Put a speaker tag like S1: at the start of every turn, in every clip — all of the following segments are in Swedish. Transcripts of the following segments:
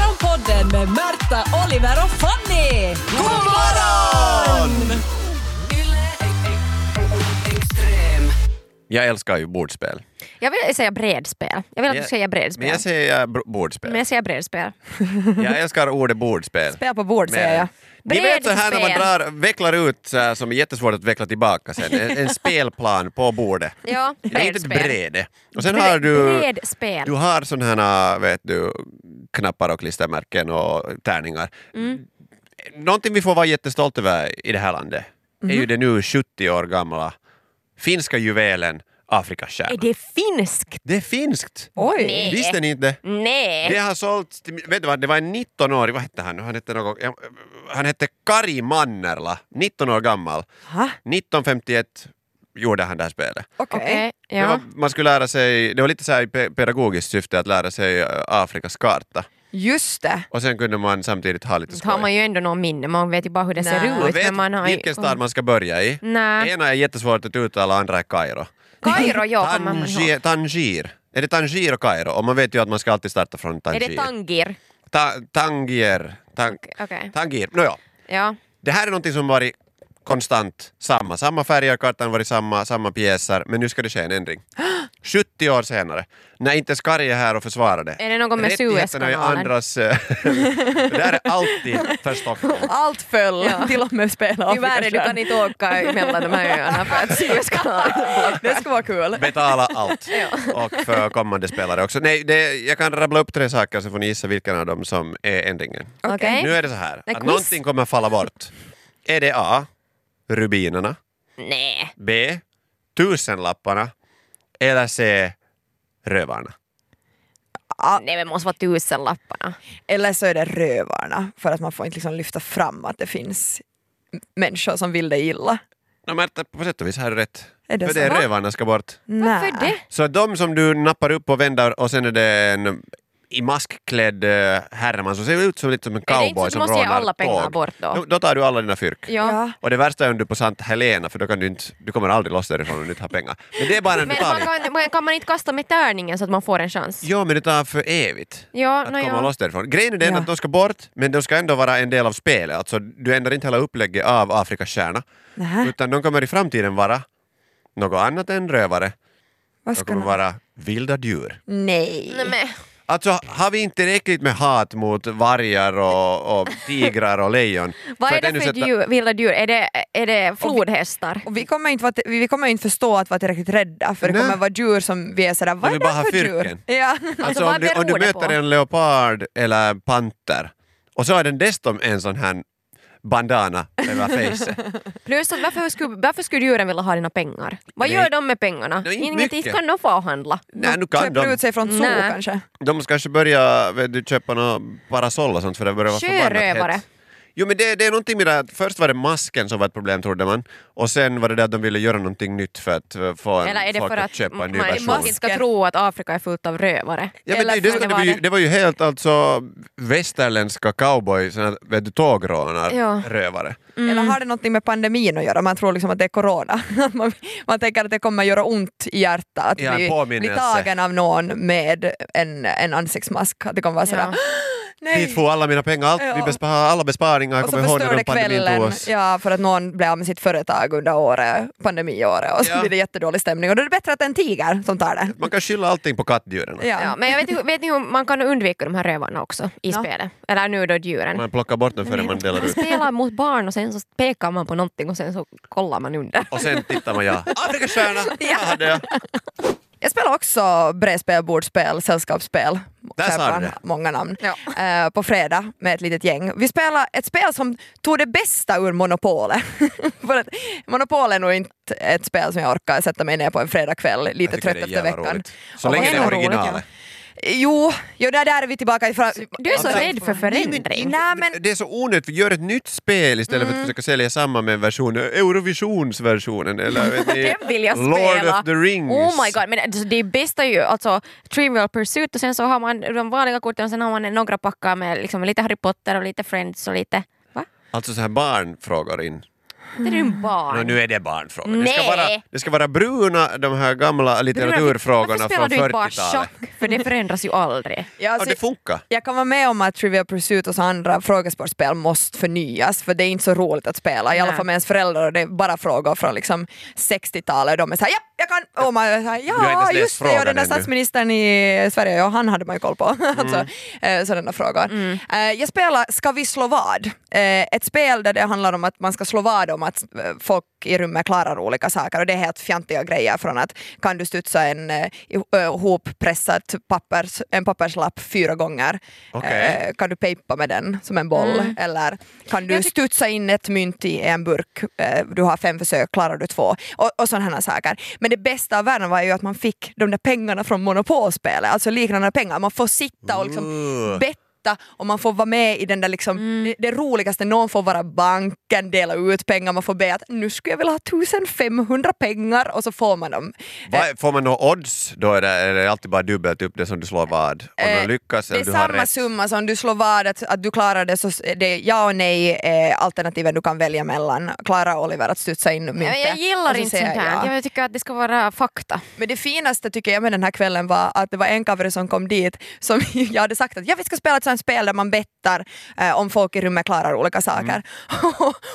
S1: Morgonpodden med Märta, Oliver och Fanny! God morgon!
S2: Jag älskar ju bordspel.
S3: Jag vill säga bredspel. Jag vill att du säger
S2: Men
S3: bredspel.
S2: jag säger br- bordspel.
S3: Men jag säger bredspel.
S2: Jag älskar ordet bordspel.
S1: Spel på bord säger jag.
S2: Ni vet så här när man
S3: Bredspel.
S2: drar, vecklar ut så här, som är jättesvårt att veckla tillbaka sen. En, en spelplan på bordet.
S3: Ja,
S2: Det är inte ett
S3: bredspel.
S2: brede. Och sen har du,
S3: Bredspel.
S2: du har sådana här vet du, knappar och klistermärken och tärningar. Någonting vi får vara jättestolta över i det här landet är ju den nu 70 år gamla finska juvelen Afrikas
S3: Är
S2: stjärna.
S3: det finskt?
S2: Det är finskt!
S1: Oj!
S3: Nej.
S2: Visste ni inte?
S3: Nej.
S2: Det har sålts till, vet du vad, det var en 19-årig, vad hette han nu? Han hette, någon, ja, han hette Kari Mannerla, 19 år gammal.
S1: Ha?
S2: 1951 gjorde han det här spelet.
S1: Okej.
S3: Okej,
S2: Det
S3: ja.
S2: var, man skulle lära sig, det var lite så här i pe- pedagogiskt syfte att lära sig eh, Afrikas karta.
S1: Just det.
S2: Och sen kunde man samtidigt ha lite skoj.
S3: Har man ju ändå någon minne, man vet ju bara hur det
S1: Nej.
S3: ser
S2: man
S3: ut.
S2: vet
S3: men man har ju-
S2: vilken stad man ska börja i.
S3: Nej.
S2: Ena är jättesvårt att uttala, andra är Kairo.
S3: Kairo, ja, kommer man ihåg.
S2: Tangier, Tangier. Är det Tangier och Kairo? Och man vet ju att man ska alltid starta från
S3: Är
S2: Tangier.
S3: det Tangir?
S2: Ta, tangier. Tang,
S3: Okej. okej.
S2: Tangir. Nåja,
S3: Ja.
S2: det här är någonting som varit konstant samma. Samma färger, kartan varit samma, samma pjäser, men nu ska det ske en ändring. 70 år senare, när inte ens Kari är här och försvarar det.
S3: Är det någon med
S2: Rättigheterna är
S3: Suezkanalen?
S2: andras... eh, det här är alltid för Stockholm.
S1: Allt föll,
S3: Ja.
S1: till och med spel av
S3: Tyvärr, du kan inte åka mellan de här öarna för att Suezkanalen
S1: Det skulle vara kul.
S2: Betala allt. Och för kommande spelare också. Nej, det, jag kan rabbla upp tre saker så får ni gissa vilken av dem som är ändringen.
S3: Okej.
S2: Nu är det så här,
S3: Nej,
S2: att
S3: quiz.
S2: någonting kommer falla bort. Är det A. Rubinerna.
S3: Nej.
S2: B. Tusenlapparna. Eller C. Rövarna. Ah.
S3: Nej, det måste vara tusenlapparna.
S1: Eller så är det rövarna, för att man får inte liksom lyfta fram att det finns m- människor som vill dig illa.
S2: No, Märta, på sätt och vis har du rätt.
S1: Är det
S2: För
S1: så?
S2: det är rövarna ska bort.
S1: Nä.
S3: Varför det?
S2: Så de som du nappar upp och vänder och sen är det en i maskklädd eh, herreman som ser ut som lite som en
S3: Är det inte så
S2: cowboy
S3: att du
S2: som
S3: måste ge
S2: rånar
S3: alla pengar
S2: tåg.
S3: bort då?
S2: Då, då tar du alla dina fyrk.
S3: Ja.
S1: Ja.
S2: Och det värsta är om du är på Sant Helena för då kan du inte, du kommer aldrig loss därifrån om du inte har pengar. Men det är bara en
S3: Men man
S2: betalning.
S3: kan, man- kan man inte kasta med tärningen så att man får en chans?
S2: Ja, men det tar för evigt.
S3: Ja,
S2: att
S3: nå
S2: komma
S3: ja.
S2: loss därifrån. Grejen är den
S1: Ja.
S2: att de ska bort, men de ska ändå vara en del av spelet. Alltså, du ändrar inte hela upplägget av Afrikas stjärna,
S3: Äh.
S1: Nähä,
S2: utan de kommer i framtiden vara något annat än rövare.
S1: vad
S2: De
S1: ska
S2: kommer
S1: man...
S2: vara vilda djur.
S1: Nej.
S3: Nej, men,
S2: Alltså, har vi inte tillräckligt med hat mot vargar och, och tigrar och lejon?
S3: vad
S2: för
S3: är
S2: att ännu
S3: det för
S2: sätta-
S3: djur, vilda djur? Är det, är det flodhästar?
S1: Och vi kommer, inte vara, vi vi kommer inte förstå att vara tillräckligt rädda för det
S2: Nej.
S1: kommer vara djur som vi är sådär, vad är
S2: vill
S1: det
S2: bara ha
S1: här för djur?
S2: fyrken.
S1: Ja.
S2: Alltså,
S3: vad
S2: om, du, om du
S3: beror det
S2: möter
S3: på?
S2: en leopard eller panter och så är den dessutom en sån här bandana över fejset.
S3: Plus att varför skulle, varför skulle djuren vilja ha dina pengar? Vad
S2: Nej.
S3: gör de med pengarna?
S2: Nej, inte
S3: Inget, inte
S2: mycket.
S3: kan de få handla.
S2: Nej, nu kan
S1: Köper
S2: de.
S1: ut sig från zoo
S3: Nä.
S1: kanske.
S2: De ska kanske börja vet du, köpa några parasoll och sånt för det börjar vara förbannat
S3: Sjörövare.
S2: hett. Jo men det, det är någonting med det att först var det masken som var ett problem trodde man och sen var det där att de ville göra någonting nytt för att eh, få en,
S3: Eller är det
S2: folk
S3: för att
S2: köpa en ny
S3: man
S2: version.
S3: folk inte ska
S1: Masken.
S3: tro att Afrika är fullt av rövare?
S2: Ja, men det,
S3: Eller
S2: det,
S3: för
S2: det,
S3: vad
S2: var ju, det var ju helt alltså västerländska cowboy, såna, vet du, tågrånar,
S3: Ja.
S2: rövare.
S1: Eller har det något med pandemin att göra? Man tror liksom att det är corona. Att man, man tänker att det kommer göra ont i hjärtat att
S2: Ja, en
S1: bli, bli
S2: påminnelse.
S1: tagen av någon med en, en ansiktsmask. Att det kommer vara sådär,
S3: Ja.
S1: nej!
S2: Dit får alla mina pengar, allt, vi
S1: Ja.
S2: bespar, alla besparingar, jag
S1: Och så
S2: kommer ihåg när
S1: förstör
S2: de
S1: det
S2: pandemin tog
S1: kvällen
S2: oss.
S1: ja, för att någon blev av med sitt företag under året, pandemiåret och så
S2: Ja.
S1: blir det jättedålig stämning. Och då är det bättre att det är en tiger som tar det.
S2: Man kan skylla allting på kattdjuren.
S1: Ja.
S3: Ja, men jag vet, ju- vet ni hur man kan undvika de här rövarna också i
S1: Ja.
S3: spelet? Eller nu då djuren.
S2: Man plockar bort dem före man delar
S3: Man
S2: ut.
S3: spelar mot barn och sen så pekar man på någonting och sen så kollar man under.
S2: Och sen tittar man ja, Afrikastjärna! Ja. hade jag.
S1: Jag spelar också brädspel, bordspel, sällskapsspel.
S2: Där sa du
S1: Säpan,
S2: det.
S1: Många namn.
S3: Ja.
S1: Eh, på fredag med ett litet gäng. Vi spelar ett spel som tog det bästa ur Monopolet. För att Monopol är nog inte ett spel som jag orkar sätta mig ner på en fredagkväll
S2: Jag
S1: lite
S2: tycker
S1: trött
S2: det är
S1: efter
S2: jävla
S1: veckan.
S2: roligt. Så
S1: Och
S2: länge det är
S1: vad roligt, ja.
S2: originalet.
S1: Jo, jo där, där är vi tillbaka. Ifrån.
S3: Du är så
S2: Alltså-
S3: rädd för förändring.
S1: Nej, men,
S2: Det är så onödigt, vi gör ett nytt spel istället för att
S3: Mm.
S2: försöka sälja samma med en version, Eurovisionsversionen eller vet ni,
S3: Den vill jag
S2: Lord
S3: spela.
S2: of the Rings.
S3: Oh my god, men alltså, det bästa är ju alltså Trivial Pursuit och sen så har man de vanliga korten och sen har man några packar med liksom, lite Harry Potter och lite Friends och lite... Va?
S2: Alltså så här barnfrågor in.
S3: Det är ju en barn.
S2: Nå, nu är det barnfrågor. Det ska,
S3: Nej.
S2: vara, det ska vara bruna, de här gamla litteraturfrågorna
S3: Varför spelar
S2: från
S3: du inte bara
S2: 40-talet.
S3: schack? För det förändras ju aldrig.
S1: Ja,
S2: Ja,
S1: alltså,
S2: det funkar.
S1: jag kan vara med om att Trivial Pursuit och så andra frågesportspel måste förnyas för det är inte så roligt att spela, i alla
S3: Nej.
S1: fall med ens föräldrar och det är bara frågor från liksom 60-talet och de är såhär ja, jag kan! Och man är så här,
S2: har inte ens
S1: ja,
S2: läst
S1: just det, ja, den
S2: frågan
S1: där
S2: ännu."
S1: statsministern i Sverige, ja han hade man ju koll på. alltså, eh, sådana frågor. Eh, jag spelar Ska vi slå vad? Eh, ett spel där det handlar om att man ska slå vad om att eh, folk i rummet klarar olika saker och det är helt fjantiga grejer från att kan du studsa en eh, ihoppressat pappers, en papperslapp fyra gånger
S2: Okej.
S1: Eh, kan du pejpa med den som en boll eller kan du
S3: Mm. Jag tyck-
S1: studsa in ett mynt i en burk, eh, du har fem försök, klarar du två och, och sådana här saker. Men det bästa av världen var ju att man fick de där pengarna från monopolspelet, alltså liknande pengar, man får sitta och liksom
S2: Ooh.
S1: betta och man får vara med i den där liksom,
S3: Mm.
S1: det, det roligaste, någon får vara banken, dela ut pengar, man får be att nu skulle jag vilja ha 1500 pengar och så får man dem. Eh,
S2: Vad- Får man några odds då är det, är det alltid bara dubbelt upp det som du slår vad? Om
S1: Eh,
S2: du lyckas
S1: Det är
S2: eller Alltså, du har
S1: samma
S2: rätt.
S1: summa som du slår vad att, att du klarar det så s- det är ja och nej eh, alternativen du kan välja mellan. Klara Oliver att studsa in myntet.
S3: Men jag
S1: Och
S3: gillar
S1: så
S3: inte
S1: Alltså, säger
S3: sånt
S1: jag
S3: här. Jag tycker att det ska vara fakta.
S1: Men det finaste tycker jag med den här kvällen var att det var en cover som kom dit som jag hade sagt att ja, vi ska spela ett sånt spel där man bettar eh, om folk i rummet klarar olika saker.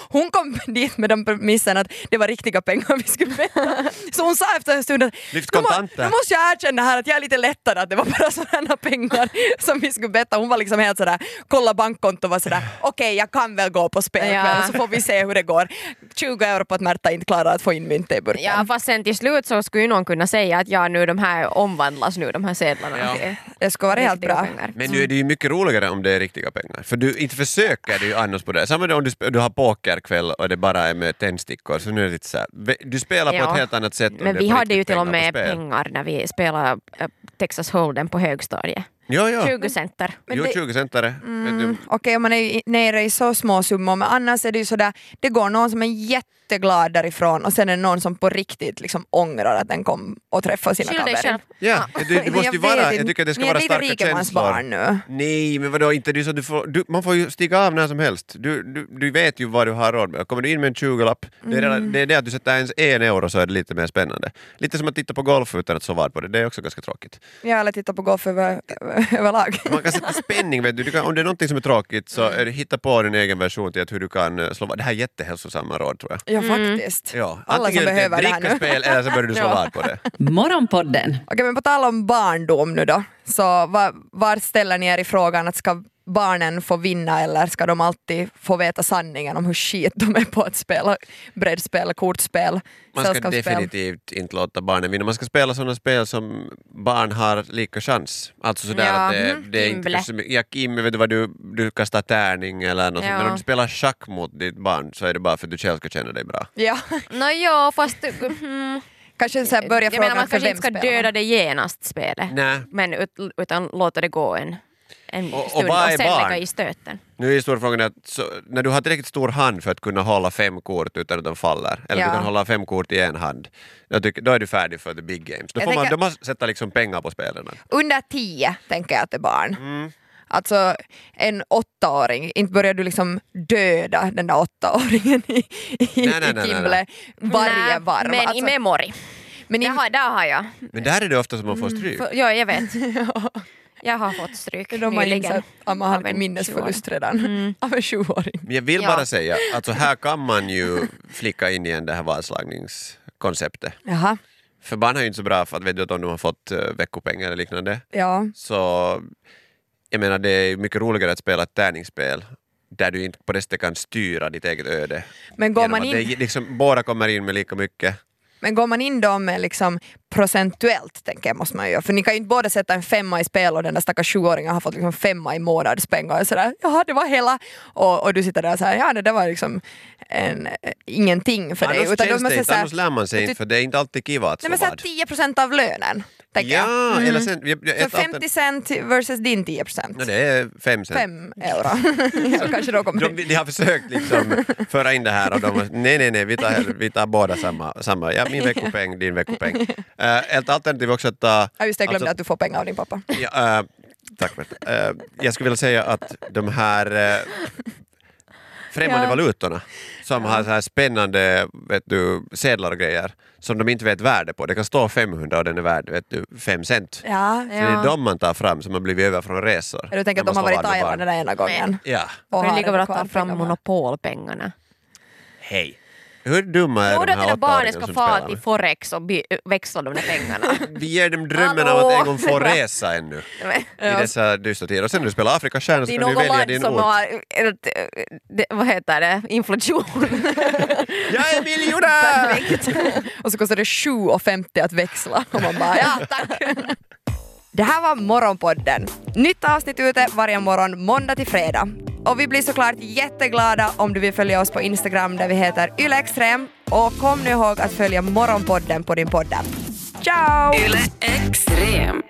S1: Hon kom dit med den premissen att det var riktiga pengar vi skulle betta. Så hon sa efter en stund att
S2: Lyft
S1: "Nu må-
S2: kontanter."
S1: nu måste jag erkänna här att jag är lite lättad att det var bara sådana pengar som vi skulle betta. Hon var liksom helt sådär, kolla bankkonto och var sådär okej jag kan väl gå på spel
S3: Ja.
S1: ikväll, så får vi se hur det går. 20 euro på att Märta inte klarar att få in myntet i burken.
S3: Ja, fast sen till slut så skulle ju någon kunna säga att ja, nu de här omvandlas nu de här sedlarna.
S2: Ja.
S3: till
S1: Det skulle vara helt
S3: riktiga
S1: bra.
S3: pengar.
S2: Men nu är det ju mycket roligare om det är riktiga pengar. För du inte försöker du ju annars på det. Samma om du, sp- du har pokerkväll och det bara är med tändstickor. Så nu är det lite så här, ve- du spelar på
S3: Ja.
S2: ett helt annat sätt. om
S3: Men
S2: det
S3: vi
S2: är på
S3: hade ju
S2: riktigt
S3: till och
S2: pengar
S3: med
S2: på spel.
S3: pengar när vi spelade äh, Texas Hold'em på högstadiet.
S2: Ja, ja.
S3: 20 center.
S1: Men
S2: Jo,
S1: det-
S2: 20 centare. Mm.
S1: Okej, om man är i- nere i så små summor, men annars är det ju sådär, det går någon som är jätteglad därifrån och sen är det någon som på riktigt liksom ångrar att den kom och träffade sina
S3: Skyll dig
S1: kamrater.
S3: själv.
S2: Ja, du, du
S1: Men
S2: måste
S1: jag
S2: ju
S1: vet
S2: vara,
S1: inte.
S2: jag tycker att det ska
S1: Ni är
S2: vara
S1: lite
S2: starka känslor.
S1: rikemansbarn nu.
S2: Nej, men vadå, inte du så du får, du, man får ju stiga av när som helst. Du, du, du vet ju vad du har råd med. Kommer du in med en 20-lapp, det, är redan- det är det att du sätter ens en euro så är det lite mer spännande. Lite som att titta på golf utan att så vad på det, det är också ganska tråkigt.
S1: Jag har tittat på golf över, överlag.
S2: Man kan sätta spänning, vet du. du kan, om det är någonting som är tråkigt så
S1: Mm.
S2: är det, hitta på din egen version till att hur du kan eh, slå vad. Det här är jättehälsosamma råd tror jag.
S1: Ja, faktiskt.
S2: Ja,
S1: Alla som
S2: antingen ett
S1: behöver det här nu.
S2: drickaspel eller så börjar du slå
S3: Ja.
S2: vad på det.
S4: Morgonpodden
S1: Okej, men på tal om barndom nu då, så var, var ställer ni er i frågan att ska barnen få vinna eller ska de alltid få veta sanningen om hur skit de är på att spela brädspel, kortspel,
S2: Man ska definitivt inte låta barnen vinna. Man ska spela sådana spel som barn har lika chans. Alltså sådär
S3: Ja,
S2: att det,
S1: mm-hmm.
S3: mhm.
S2: det är inte
S3: Kimble.
S2: kanske så mycket- ja, Kim, vet du vad du, du kastar tärning eller något
S3: Ja.
S2: sånt. Men om du spelar schack mot ditt barn så är det bara för att du själv ska känna dig bra.
S1: Ja,
S3: Nå ja, fast... Mm,
S1: kanske så här börja
S3: jag menar
S1: frågan
S3: man
S1: för
S3: kanske
S1: vem
S3: inte ska
S1: spelar
S3: döda
S1: man?
S3: det genast spelet.
S2: Nej.
S3: Men ut, utan låta det gå en, en
S2: Och- och
S3: stund
S2: vad
S3: och
S2: är
S3: sen
S2: barn?
S3: lägga i stöten.
S2: Nu är storfrågan att så, när du har tillräckligt stor hand för att kunna hålla fem kort utan att de faller, eller
S1: Ja.
S2: du kan hålla fem kort i en hand, då, tycker, då är du färdig för the big games. Då
S1: Jag
S2: får man,
S1: tänker-
S2: då måste sätta liksom pengar på spelen.
S1: Under tio tänker jag att det är barn.
S2: Mm.
S1: Alltså en åttaåring, inte börjar du liksom döda den där åttaåringen i, i,
S2: nej, nej,
S1: i
S2: nej,
S1: Kimble
S2: nej.
S1: varje
S3: Nej,
S1: varv.
S3: Men i
S1: Alltså,
S3: memory.
S1: men i-
S3: Där har, där har jag.
S2: Men där är det ofta som man får
S1: Mm,
S2: stryk.
S3: För, ja, jag vet. Jag har fått stryk
S1: de har liksom
S3: nyligen.
S1: insett att man har
S3: av en
S1: lite
S3: Mm.
S1: minnesförlust redan av en sjuåring.
S2: Men jag vill
S3: Ja.
S2: bara säga, alltså här kan man ju flicka in igen det här vadslagningskonceptet.
S1: Jaha,
S2: För barn har ju inte så bra för att vet du att om de har fått eh, veckopeng eller liknande.
S1: ja.
S2: Så jag menar det är ju mycket roligare att spela ett tärningsspel där du inte på det sättet kan styra ditt eget öde.
S1: Men går
S2: Genom
S1: man
S2: att
S1: in...
S2: Det, är liksom, båda kommer in med lika mycket.
S1: Men går man in dem liksom procentuellt, tänker jag, måste man ju göra. För ni kan ju inte båda sätta en femma i spel och den där stackars sjuåringen har fått liksom femma i månadspeng och sådär, jaha det var hela. Och, och du sitter där såhär, ja det där var liksom en, eh, ingenting för dig.
S2: annars
S1: Utan då
S2: känns
S1: måste
S2: det
S1: jag
S2: inte,
S1: säga-
S2: annars lär man sig
S1: du-
S2: inte för det är inte alltid kiva att slå
S1: Nej men såhär
S2: vad.
S1: 10 procent av lönen, tänker jag.
S2: Ja, eller sen... Jag, jag,
S1: Mm. Så
S2: ett
S1: 50
S2: 50...
S1: cent versus din 10 procent.
S2: No, det är fem sen.
S1: Fem euro. ja, kanske då kommer...
S2: De, de har försökt liksom föra in det här och de har nej, nej, nej, vi tar, vi tar båda samma. samma. Ja, min veckopeng, din veckopeng. Uh, ett alternativ är också att ta...
S1: Ja just det, jag glömde
S2: alltså-
S1: att du får pengar av din pappa.
S2: Ja, eh, tack för det. Eh, jag skulle vilja säga att de här eh, främmande
S3: Ja.
S2: valutorna som har så här spännande vet du, sedlar och grejer som de inte vet värde på. Det kan stå 500 och den är värd vet du, 5 cent.
S1: Ja.
S2: Så det är de man tar fram som har blivit över från resor.
S1: Du tänker att
S2: när
S1: de har
S2: man
S1: varit i
S2: slår vad med
S1: Thailand den där ena gången?
S2: barn. Ja,
S1: Och
S3: Kan
S1: har
S3: du lika
S1: den
S3: bra
S1: kvar
S3: ta fram
S1: pengarna.
S3: monopolpengarna?
S2: hej. Hur dumma är
S3: Jo,
S2: de
S3: att
S2: här
S3: dina barn
S2: åttaåringarna
S3: ska
S2: som
S3: fara
S2: spelar?
S3: till
S2: med?
S3: Forex och by- växla de där pengarna.
S2: Vi ger dem drömmen om att
S3: Hallå!
S2: en gång få resa ännu i dessa dystra tider. Och sen när du spelar Afrikastjärnor så
S3: Det är
S2: kan du
S3: något
S2: välja
S3: land
S2: din
S3: som
S2: ort.
S3: har, eh, eh, det- vad heter det, inflation.
S2: Jag är miljonär!
S1: Och så kostar det 7,50 att växla. Och man bara, ja.
S3: tack.
S1: Det här var Morgonpodden. Nytt avsnitt ute varje morgon måndag till fredag. Och vi blir såklart jätteglada om du vill följa oss på Instagram där vi heter ylextrem. Och kom nu ihåg att följa Morgonpodden på din podd. Ciao!
S4: Yle Extrem.